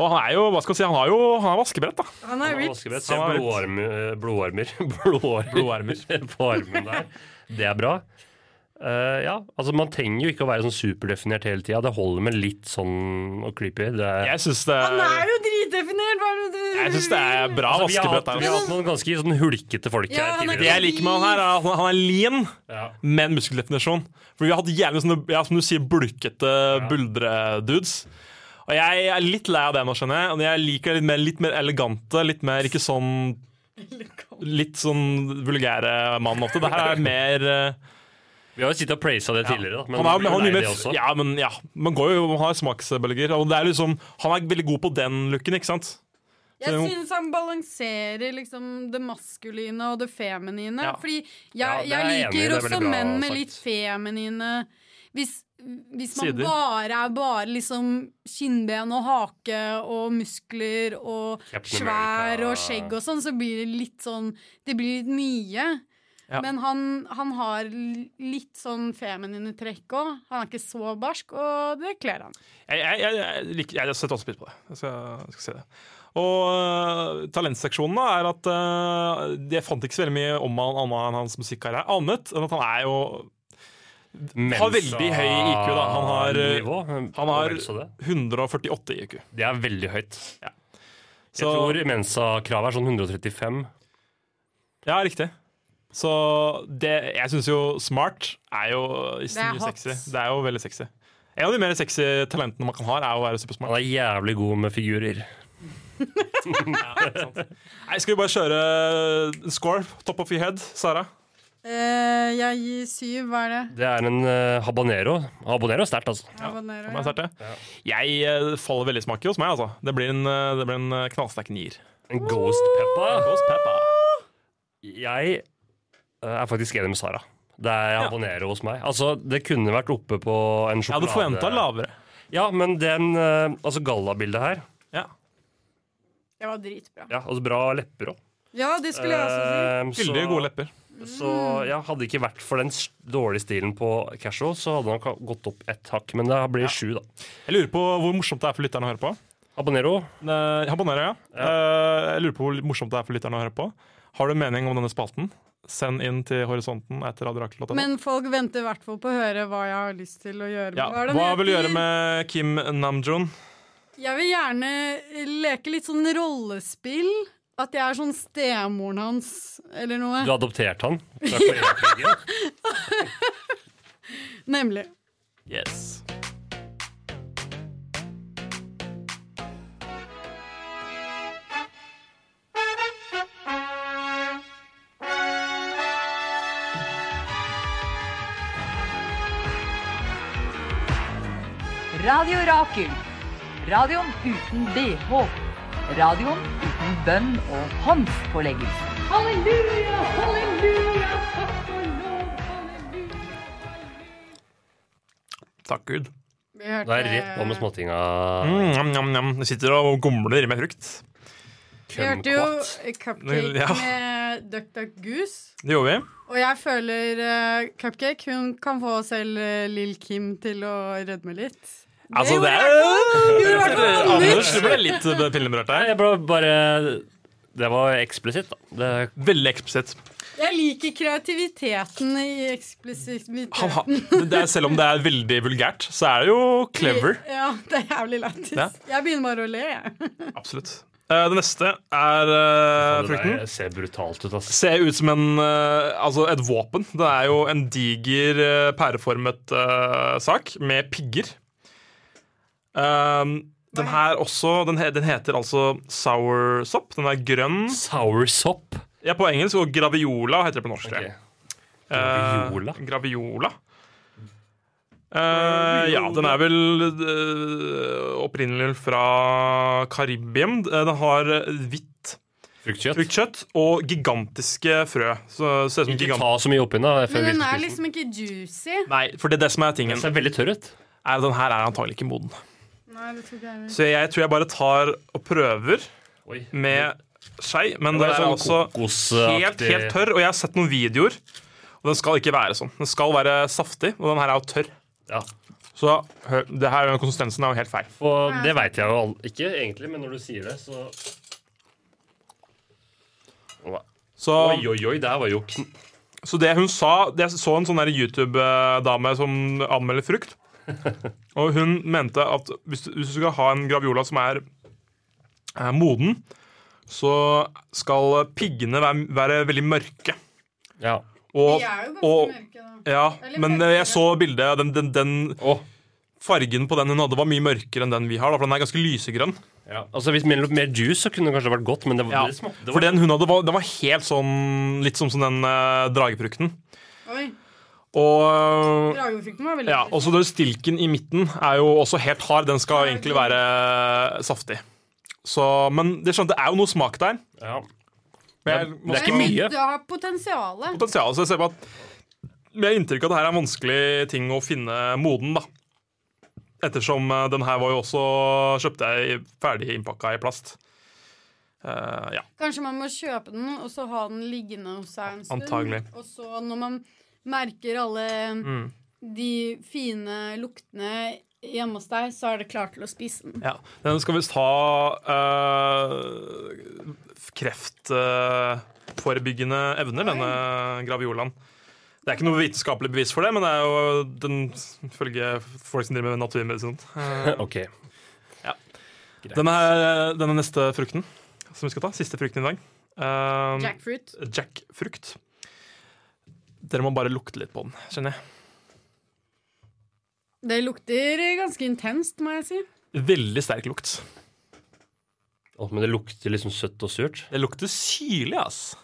D: Og han er jo hva skal jeg si, han har jo han er vaskebrett, da.
E: Han er rich.
F: Vaskebett. Se
D: Han er
F: blodarm, eh, blodarmer. Blodår- på armen der. Det er bra. Eh, ja, altså Man trenger jo ikke å være sånn superdefinert hele tida. Det holder med litt sånn og creepy. Det er,
D: Jeg syns det,
E: Han er jo dritdefinert! Hva er det du
D: jeg synes det er bra
F: altså, vi, har
D: vaskebrett.
F: hatt,
D: Der,
F: vi har hatt noen ganske sånn hulkete folk
E: Ja,
F: her
E: han er
D: Det
F: tidligere.
D: jeg liker med han her, er at han er lean,
F: Ja.
D: men muskeldefinisjon. For vi har hatt jævlig sånne, ja, som du sier, bulkete buldredudes. Og jeg er litt lei av det nå, skjønner jeg. Og jeg liker litt mer, litt mer elegante, litt mer ikke sånn Litt sånn vulgære mann ofte. Det her er mer eh,
F: Vi har jo sittet og praisa det tidligere, da.
D: han, er,
F: man
D: han,
F: blir
D: er
F: lei
D: mye
F: det
D: mer
F: også.
D: Ja, men ja. Man går jo man har smaksbølger. Og det er liksom Han er veldig god på den looken, ikke sant?
E: Jeg
D: Så-
E: syns han balanserer liksom det maskuline og det feminine.
D: Ja.
E: Fordi jeg,
F: Ja, det er
E: jeg
F: jeg enig i. Det
E: liker
F: er
E: også
F: veldig bra
E: menn med
F: sagt.
E: litt feminine Hvis, hvis man
D: Sider.
E: bare er bare liksom kinnben og hake og muskler og
F: Captain
E: svær
F: America.
E: og skjegg og sånn, så blir det litt sånn Det blir litt mye.
D: Ja.
E: Men han, han har l- litt sånn feminine trekk òg. Han er ikke så barsk, og det kler han.
D: Jeg, jeg, jeg, jeg, liker, jeg setter også pris på det. Jeg skal, jeg skal se det. Og øh, talentseksjonen da, er at øh, Jeg fant ikke så veldig mye om han annet enn hans musikkarriere. Annet enn at han er jo har veldig høy IQ, da. Han har, eh,
F: Nivå,
D: han har-
F: og vel så det.
D: 148 IQ.
F: det er veldig høyt.
D: Så
F: Jeg tror Mensa-kravet er sånn 135.
D: Ja, riktig. Så det, jeg syns jo smart er jo
E: Det er
D: ikke mye
E: hot.
D: sexy. Det er jo veldig sexy. En av de mer sexy talentene man kan ha, er å være supersmart.
F: Han er jævlig god med figurer.
D: Nei, skal vi bare kjøre eh, score? Top of your head, Sara?
E: Eh, jeg gir syv, hva er det?
F: Det er en eh, habanero. Habanero er sterkt, altså.
E: Habanero,
D: Kan jeg
E: ja.
D: starte? Jeg eh, faller veldig i smak hos meg, altså. Det blir en, eh, det blir en eh, knallsterk nier.
F: En ghost peppa.
D: Ghost pepper.
F: Jeg eh, er faktisk enig med Sara. Det er habanero hos meg. Altså, Det kunne vært oppe på en
D: Jeg hadde
F: sjokolade...
D: forventa lavere.
F: Ja, men den eh, Altså gallabildet her.
D: Ja.
E: Det var dritbra.
F: Ja, altså Bra lepper òg.
E: Ja, det skulle jeg
D: Eh,
E: også si.
D: Fyldige, gode lepper.
F: Så ja, hadde det ikke vært for den s- dårlige stilen på casual, så hadde han ka- gått opp ett hakk. Men det blir sju, da.
D: Jeg lurer på hvor morsomt det er for lytterne å høre på.
F: Abonnero.
D: Eh, Habanero, ja. Eh, jeg lurer på hvor morsomt det er for lytterne å høre på. Har du en mening om denne spalten? Send inn til horisonten etter radiorakel.no.
E: Men folk venter i hvert fall på å høre hva jeg har lyst til å gjøre.
D: Ja.
E: er det
D: Hva
E: den
D: vil du
E: heter?
D: gjøre med Kim Namjoon?
E: Jeg vil gjerne leke litt sånn rollespill. At jeg er sånn stemoren hans, eller noe.
F: Du adopterte han fra Koreakrigen.
E: Nemlig.
D: Yes.
I: Radio Rakel. Radioen uten BH. Radioen uten bønn og håndspåleggelse.
D: Takk Gud.
E: Vi hørte-
F: Det er rett på med småtinga.
D: Mm, njam, njam, njam. Du sitter og gomler med frukt.
E: Vi hørte jo
F: Kumquat.
E: Cupcake
D: Ja.
E: med Duck Duck Goose.
D: Det gjorde vi.
E: Og jeg føler eh, Cupcake hun kan få selv eh, Lill Kim til å rødme litt. Det
D: Altså,
E: gjorde
D: det
E: jeg i hvert fall. gjorde i hvert fall
D: er
E: noe nytt.
D: Anders, du ble litt eh, pinneberørt
F: Nei,
D: der.
F: jeg ble bare Det var eksplisitt, da. Det,
D: Eh, Veldig eksplisitt.
E: Jeg liker kreativiteten i eksplisiteten.
D: Han har- det er- Selv om det er veldig vulgært, så er det jo clever.
E: Ja, det er jævlig lættis.
D: Ja.
E: Jeg begynner bare å le, jeg.
D: Absolutt. Eh, det neste er eh,
F: det
D: frukten.
F: der ser brutalt ut, ass.
D: ser ut som en, eh, altså et våpen. Det er jo en diger eh, pæreformet eh, sak med pigger. Um, den her også, den, he, den heter altså sour sopp. Den er grønn.
F: Sour sop.
D: Ja, på engelsk, og graviola heter det på norsk. tror jeg.
F: Ok. Graviola?
D: Eh, graviola. Eh, ja, den er vel eh, opprinnelig fra Karibien. Eh, Den har eh, hvitt
F: Fruktkjøtt.
D: fruktkjøtt og gigantiske frø. Så, ser ut som
F: Ikke
D: gigant...
F: ta så mye oppi den. da, før
E: Men den er
F: hvitespisen.
E: liksom ikke juicy.
D: Nei, for det er det som er tingen.
F: Den ser veldig tørr ut.
D: Er at den her er antagelig ikke moden.
E: Nei, det tror ikke jeg
D: Så jeg tror jeg bare tar og prøver
F: Oi.
D: med skei, men
F: Det
D: den
F: er
D: er
F: sånn
D: altså
F: kokosaktig-
D: helt, helt tørr. Og jeg har sett noen videoer, og den skal ikke være sånn. Den skal være saftig, og den her er jo tørr.
F: Ja.
D: Så hør, det her, konsistensen er jo helt feil.
F: Og det veit jeg jo all- ikke egentlig, men når du sier det, så
D: Så,
F: Oi, oi, oi, der var jo kn...
D: så det hun sa det Jeg så en sånn der YouTube-dame som anmelder frukt. Og hun mente at hvis du, hvis du skal ha en graviola som er eh, moden, så skal piggene være, være veldig mørke.
F: Ja.
D: Og,
E: De er jo ganske
D: og,
E: mørke, da.
D: ja,
E: Eller
D: men
E: mørkere.
D: jeg så bildet. Den, den, den
F: Å.
D: fargen på den hun hadde, var mye mørkere enn den vi har. Da, for den er ganske lysegrønn.
F: ja. Altså, hvis mellom mer juice, så kunne det kanskje vært godt, men det, var- det smakte det
D: For den hun hadde, var, den var helt sånn Litt som, som den eh, dragefrukten.
E: Oi,
D: Og eh,
E: Dragefrukten var veldig
D: ja, og så det stilken i midten er jo også helt hard. Den skal egentlig være saftig. Så, men det, er sånn, det er jo noe smak der.
F: Ja.
D: Men jeg,
F: Det er ikke
E: Men
F: mye.
E: Du har potensialet.
D: potensial, så jeg ser på at jeg har inntrykk av at det her er en vanskelig ting å finne moden, da. Ettersom eh, den her var jo også kjøpte jeg i- ferdig innpakka i plast. Eh, ja.
E: Kanskje man må kjøpe den, og så ha den liggende hos seg en stund.
D: Antagelig. Mm.
E: Og så når man merker alle de fine luktene hjemme hos deg, så er det klart til å spise den.
D: ja. Den skal visst ha eh, kreftforebyggende evner, denne graviolaen. Det er ikke noe vitenskapelig bevis for det, men det er jo den ifølge folk som driver med naturmedisin.
F: OK.
D: Denne, her- denne neste frukten som vi skal ta, siste frukten i dag, eh,
E: Jackfruit.
D: jackfrukt. Dere må bare lukte litt på den, kjenner jeg.
E: Det lukter ganske intenst, må jeg si.
D: Veldig sterk lukt.
F: Å, Men det lukter liksom søtt og surt.
D: Det lukter syrlig, ass.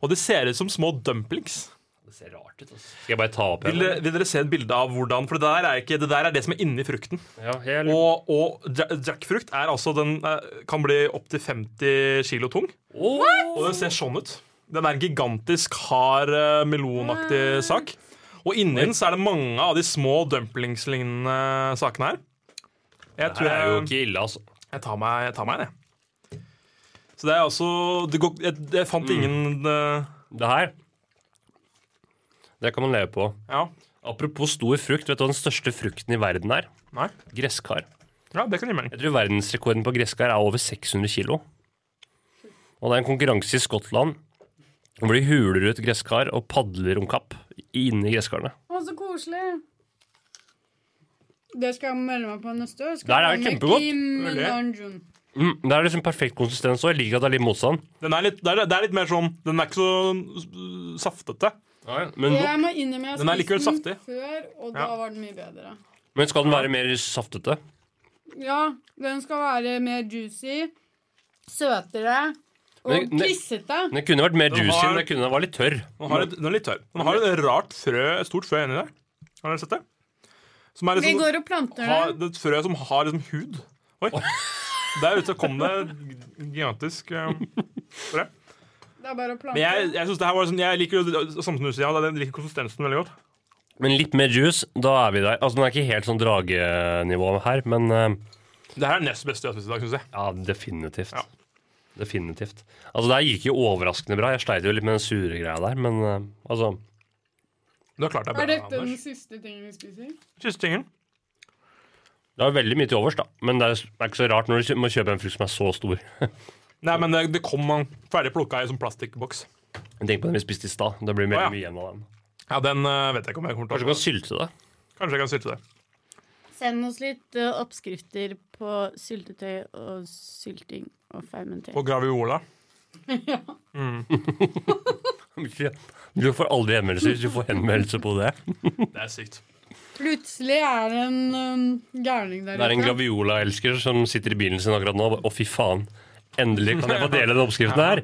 D: Og det ser ut som små dumplings.
F: Det ser rart ut. Altså. Skal jeg bare ta opp
D: Vil, dere- vil dere se et bilde av hvordan For det der er, ikke, det, der er det som er inni frukten.
F: Ja, jeg lurer.
D: Og, og ja- jackfrukt er altså den eh, kan bli opptil 50 kilo tung. Og den ser sånn ut. Den er en gigantisk hard eh, melonaktig sak. Og inni den så er det mange av de små dumplingslignende sakene her. Jeg
F: Det
D: tror
F: er jo
D: jeg,
F: ikke ille, altså.
D: jeg tar meg, jeg tar meg en, jeg. Så det er også det går, jeg, jeg
F: Mm.
D: fant ingen eh,
F: Det her Det kan man leve på.
D: Ja.
F: Apropos stor frukt, vet du hva den største frukten i verden er?
D: Nei.
F: Gresskar.
D: Ja, det kan gi mening.
F: Jeg tror verdensrekorden på gresskar er over 600 kilo. Og det er en konkurranse i Skottland hvor de huler ut gresskar og padler om kapp inni gresskarene.
E: Å, så koselig. Det skal jeg melde meg på neste år. Skal
F: Der er det
E: jeg være med
F: kjempegodt.
E: Kim
D: Veldig.
E: Larnjun.
F: Mm, det er liksom perfekt konsistens, og jeg liker at det er litt motstand.
D: Den er litt, det, er, det er litt mer sånn Den er ikke så eh, saftete.
F: Men,
E: Jeg må innrømme jeg
D: Den er likevel
E: har spist den
D: saftig.
E: før, og da
D: Ja.
E: var den mye bedre.
F: men skal den være mer saftete?
E: Ja, den skal være mer juicy, søtere og
F: Men- ne-
E: klissete.
F: Den kunne vært mer
D: Den
F: juicy,
D: har-
F: men den kunne vært litt tørr.
D: Den, har et, den er litt tørr. Den har et rart frø, et stort frø inni der. Har dere sett det? Som er
E: Vi
D: liksom,
E: går og planter
D: har,
E: den.
D: det er et frø som har liksom hud. Oi. Der ute kom det gigantisk eh, frø.
E: Det er bare
D: Men
E: å plante.
D: jeg, jeg synes det her var sånn, jeg liker jo samtidig, ja, jeg liker konsistensen veldig godt.
F: Men litt mer juice, da er vi der. Altså, Den er ikke helt sånn dragenivå her, men eh,
D: Det her er nest beste jeg har spist i dag, synes jeg.
F: ja, definitivt.
D: Ja.
F: Definitivt. Altså, Det her gikk jo overraskende bra. Jeg sleit jo litt med den sure greia der, men eh, altså
D: Du har klart deg
E: Er
D: bra,
E: dette den
D: Anders.
E: siste tingen vi spiser?
D: Siste tingen.
F: Det er jo veldig mye til overs, da. Men det er, det er ikke så rart når du kjø- må kjøpe en frukt som er så stor.
D: Nei, men det, det kom man ferdig plukka i sånn plastikkboks.
F: Tenk på den vi spiste i stad. Det blir
D: Å, ja.
F: veldig mye igjen av den.
D: Ja, den eh, vet jeg ikke om jeg kommer til
F: Kanskje du
D: å
F: kan sylte det?
D: Kanskje jeg kan sylte det.
J: Send oss litt eh, oppskrifter på syltetøy og sylting og fermentering.
D: På graviola.
F: Du får aldri henvendelser hvis du får henvendelse på det.
D: Det er sykt.
E: Plutselig er det en um, gærning der
F: Det er en Graviola-elsker som sitter i bilen sin akkurat nå. og bare, Å, fy faen. Endelig kan jeg få dele den oppskriften her.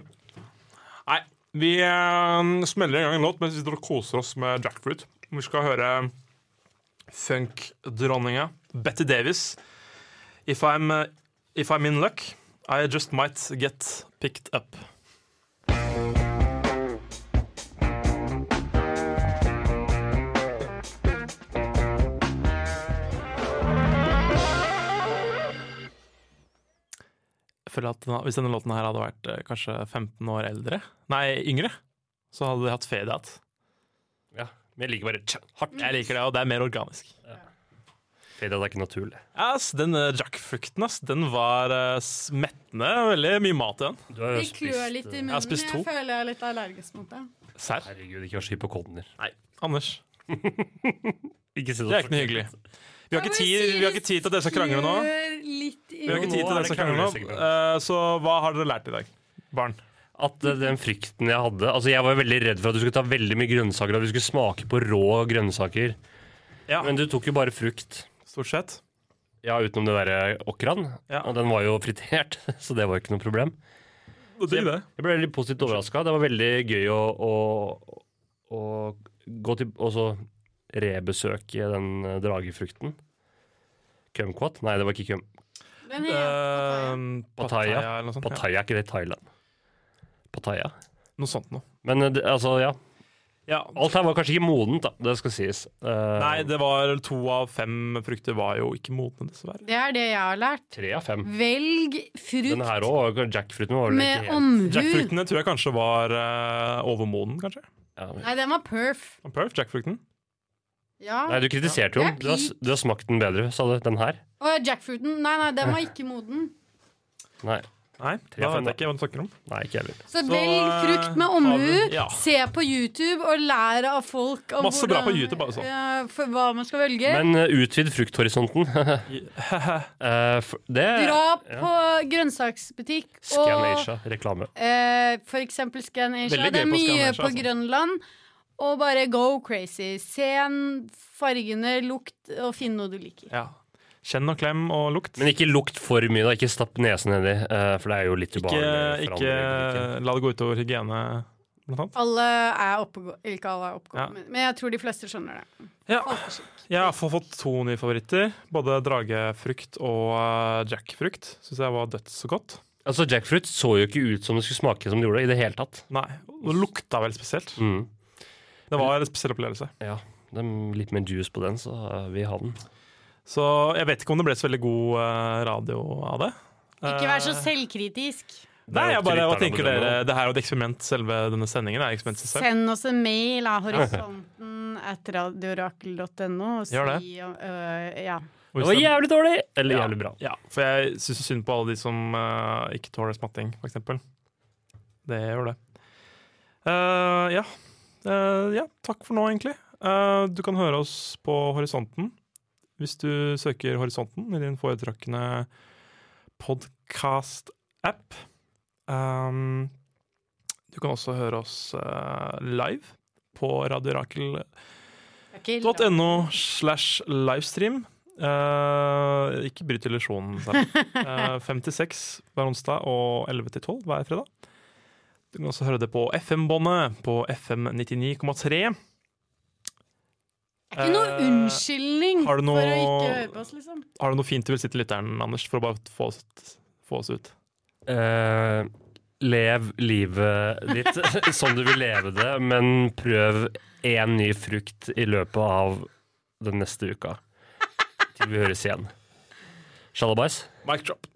D: Nei, vi eh, smeller en gang en låt mens vi sitter og koser oss med jackfruit. Vi skal høre funkdronninga Betty Davis. If I'm, eh, if I'm in luck, I just might get picked up. Jeg føler at den- Hvis denne låten her hadde vært eh, kanskje 15 år eldre, nei, yngre, så hadde de hatt fade-out.
F: Ja, men jeg liker bare tja, hardt.
D: Jeg liker det, og det er mer organisk.
F: Fordi det er ikke naturlig.
D: Ass, den eh, jackfrukten ass, den var eh, s- mettende. Veldig mye mat i den.
F: Du har eh,
E: Det klør litt i munnen.
D: har spist to.
E: Jeg føler jeg er litt allergisk mot det.
D: Serr?
F: Herregud, ikke vær så hypokonder.
D: Anders.
F: Ikke si
D: Det er ikke noe hyggelig. Vi har ikke tid, vi har ikke tid til at dere skal krangle nå.
E: Klør litt i
D: Vi har ikke
F: nå
D: tid til
F: er
D: dere
F: det
D: skal krangle nå.
F: kranglesegment.
D: Eh, Så hva har dere lært i dag, barn?
F: At eh, den frykten jeg hadde Altså, jeg var veldig redd for at du skulle ta veldig mye grønnsaker, og at du skulle smake på rå grønnsaker.
D: Ja,
F: Men du tok jo bare frukt.
D: Stort sett.
F: Ja, utenom det derre okraen.
D: Ja.
F: Og den var jo fritert, så det var ikke noe problem. digg
D: det.
F: Jeg ble litt positivt overraska. Det var veldig gøy å, å, å gå til Og så rebesøke den eh, dragefrukten. Kumquat? Nei, det var ikke kum.
E: Den
D: Eh,
E: heter
F: Pattaya.
D: Ehm, eller noe sånt. Ja.
F: Pattaya, er ikke det Thailand? Pattaya.
D: Noe sånt noe.
F: Men eh, det- altså, ja.
D: Ja.
F: Alt her var kanskje ikke modent, da. Det skal sies. Eh,
D: Nei, det var to av fem frukter var jo ikke modne, dessverre.
E: Det er det jeg har lært.
F: Tre av fem.
E: Velg
F: Den
E: frukt
F: her òg. Jackfruten var vel
E: med
F: ikke helt
E: omhu.
D: Jackfruktene tror jeg kanskje var eh, overmoden, kanskje.
F: ja.
E: Nei, den var perf.
D: Perf, jackfrukten.
E: Ja.
F: Nei, du kritiserte jo
E: Ja,
F: den. Du, har s-
E: peak.
F: du har smakt den bedre, sa du. Den her?
E: Og jackfruten. Nei, nei, den var ikke moden.
F: Nei,
D: Nei,
F: av
D: da
F: fem,
D: vet jeg ikke hva du snakker om.
F: Nei ikke jeg heller.
E: Så,
D: Så,
E: velg frukt med
D: eh, har
E: omhu.
D: vi- ja.
E: Se på YouTube og lær av folk om
D: Masse bra på YouTube, altså.
E: Ja, for hva man skal velge.
F: Men eh, utvid frukthorisonten. Eh, for- det
E: Dra på grønnsaksbutikk og
F: Scanasia. Reklame.
E: eh, for eksempel Scan Asia.
D: Veldig gøy
E: Det er
D: på Scan
E: mye
D: Asia,
E: på
D: altså.
E: Grønland. og bare go crazy. Se en fargene, lukt, og finn noe du liker.
D: Ja. Kjenn og klem og lukt.
F: Men ikke lukt for mye, da. Ikke stapp nesen nedi, eh, for det er jo litt
D: Ikke,
F: ubehagelig.
D: ikke
F: for andre i butikken.
D: la det gå utover hygiene, blant annet.
E: Alle er oppegå... eller Ikke alle er
D: Ja.
E: oppegående, men jeg tror de fleste skjønner det.
D: Ja. Jeg har fått fått to nye favoritter. Både dragefrukt og eh, jackfrukt. Syns jeg var dødsgodt.
F: Altså, Jackfruit så jo ikke ut som det skulle smake som det gjorde, i det hele tatt.
D: Nei, det lukta veldig spesielt.
F: Mm.
D: Det var en spesiell opplevelse.
F: Ja, det er litt mer juice på den, så eh, vi har den.
D: Så jeg vet ikke om det ble så veldig god eh, radio av det.
E: Ikke vær så
D: Eh,
E: selvkritisk.
D: Nei, jeg bare, hva tenker
F: Det er jo
D: dere? Det her er jo et eksperiment, selve denne sendingen er et eksperiment i seg selv.
E: Send oss en mail av horisonten at radiorakel.no. og si
D: Gjør det.
E: om- øh, ja.
F: Det var jævlig dårlig! Eller
D: Ja.
F: jævlig bra.
D: Ja, for jeg syns synd på alle de som eh, ikke tåler smatting, for eksempel. Det gjør det. Eh, ja. Eh, ja, takk for nå, egentlig. Eh, du kan høre oss på Horisonten. Hvis du søker Horisonten i din foretrukne podkast-app. Um, du kan også høre oss eh, live på radiorakel.no
E: Det er ikke
D: slash livestream. Eh, ikke bryt illusjonen, Sara. Eh, Fem til seks hver onsdag og elleve til tolv hver fredag. Du kan også høre det på FM-båndet på FM 99,3.
E: Det er ikke noe
D: Eh,
E: unnskyldning
D: har du noe-
E: for å ikke høre på oss, liksom.
D: Har du noe fint du vil si til lytteren, Anders, for å bare få oss, få oss ut?
F: Eh, lev livet ditt som du vil leve det, men prøv én ny frukt i løpet av den neste uka. Til vi høres igjen. Shalabais.
D: Mic drop.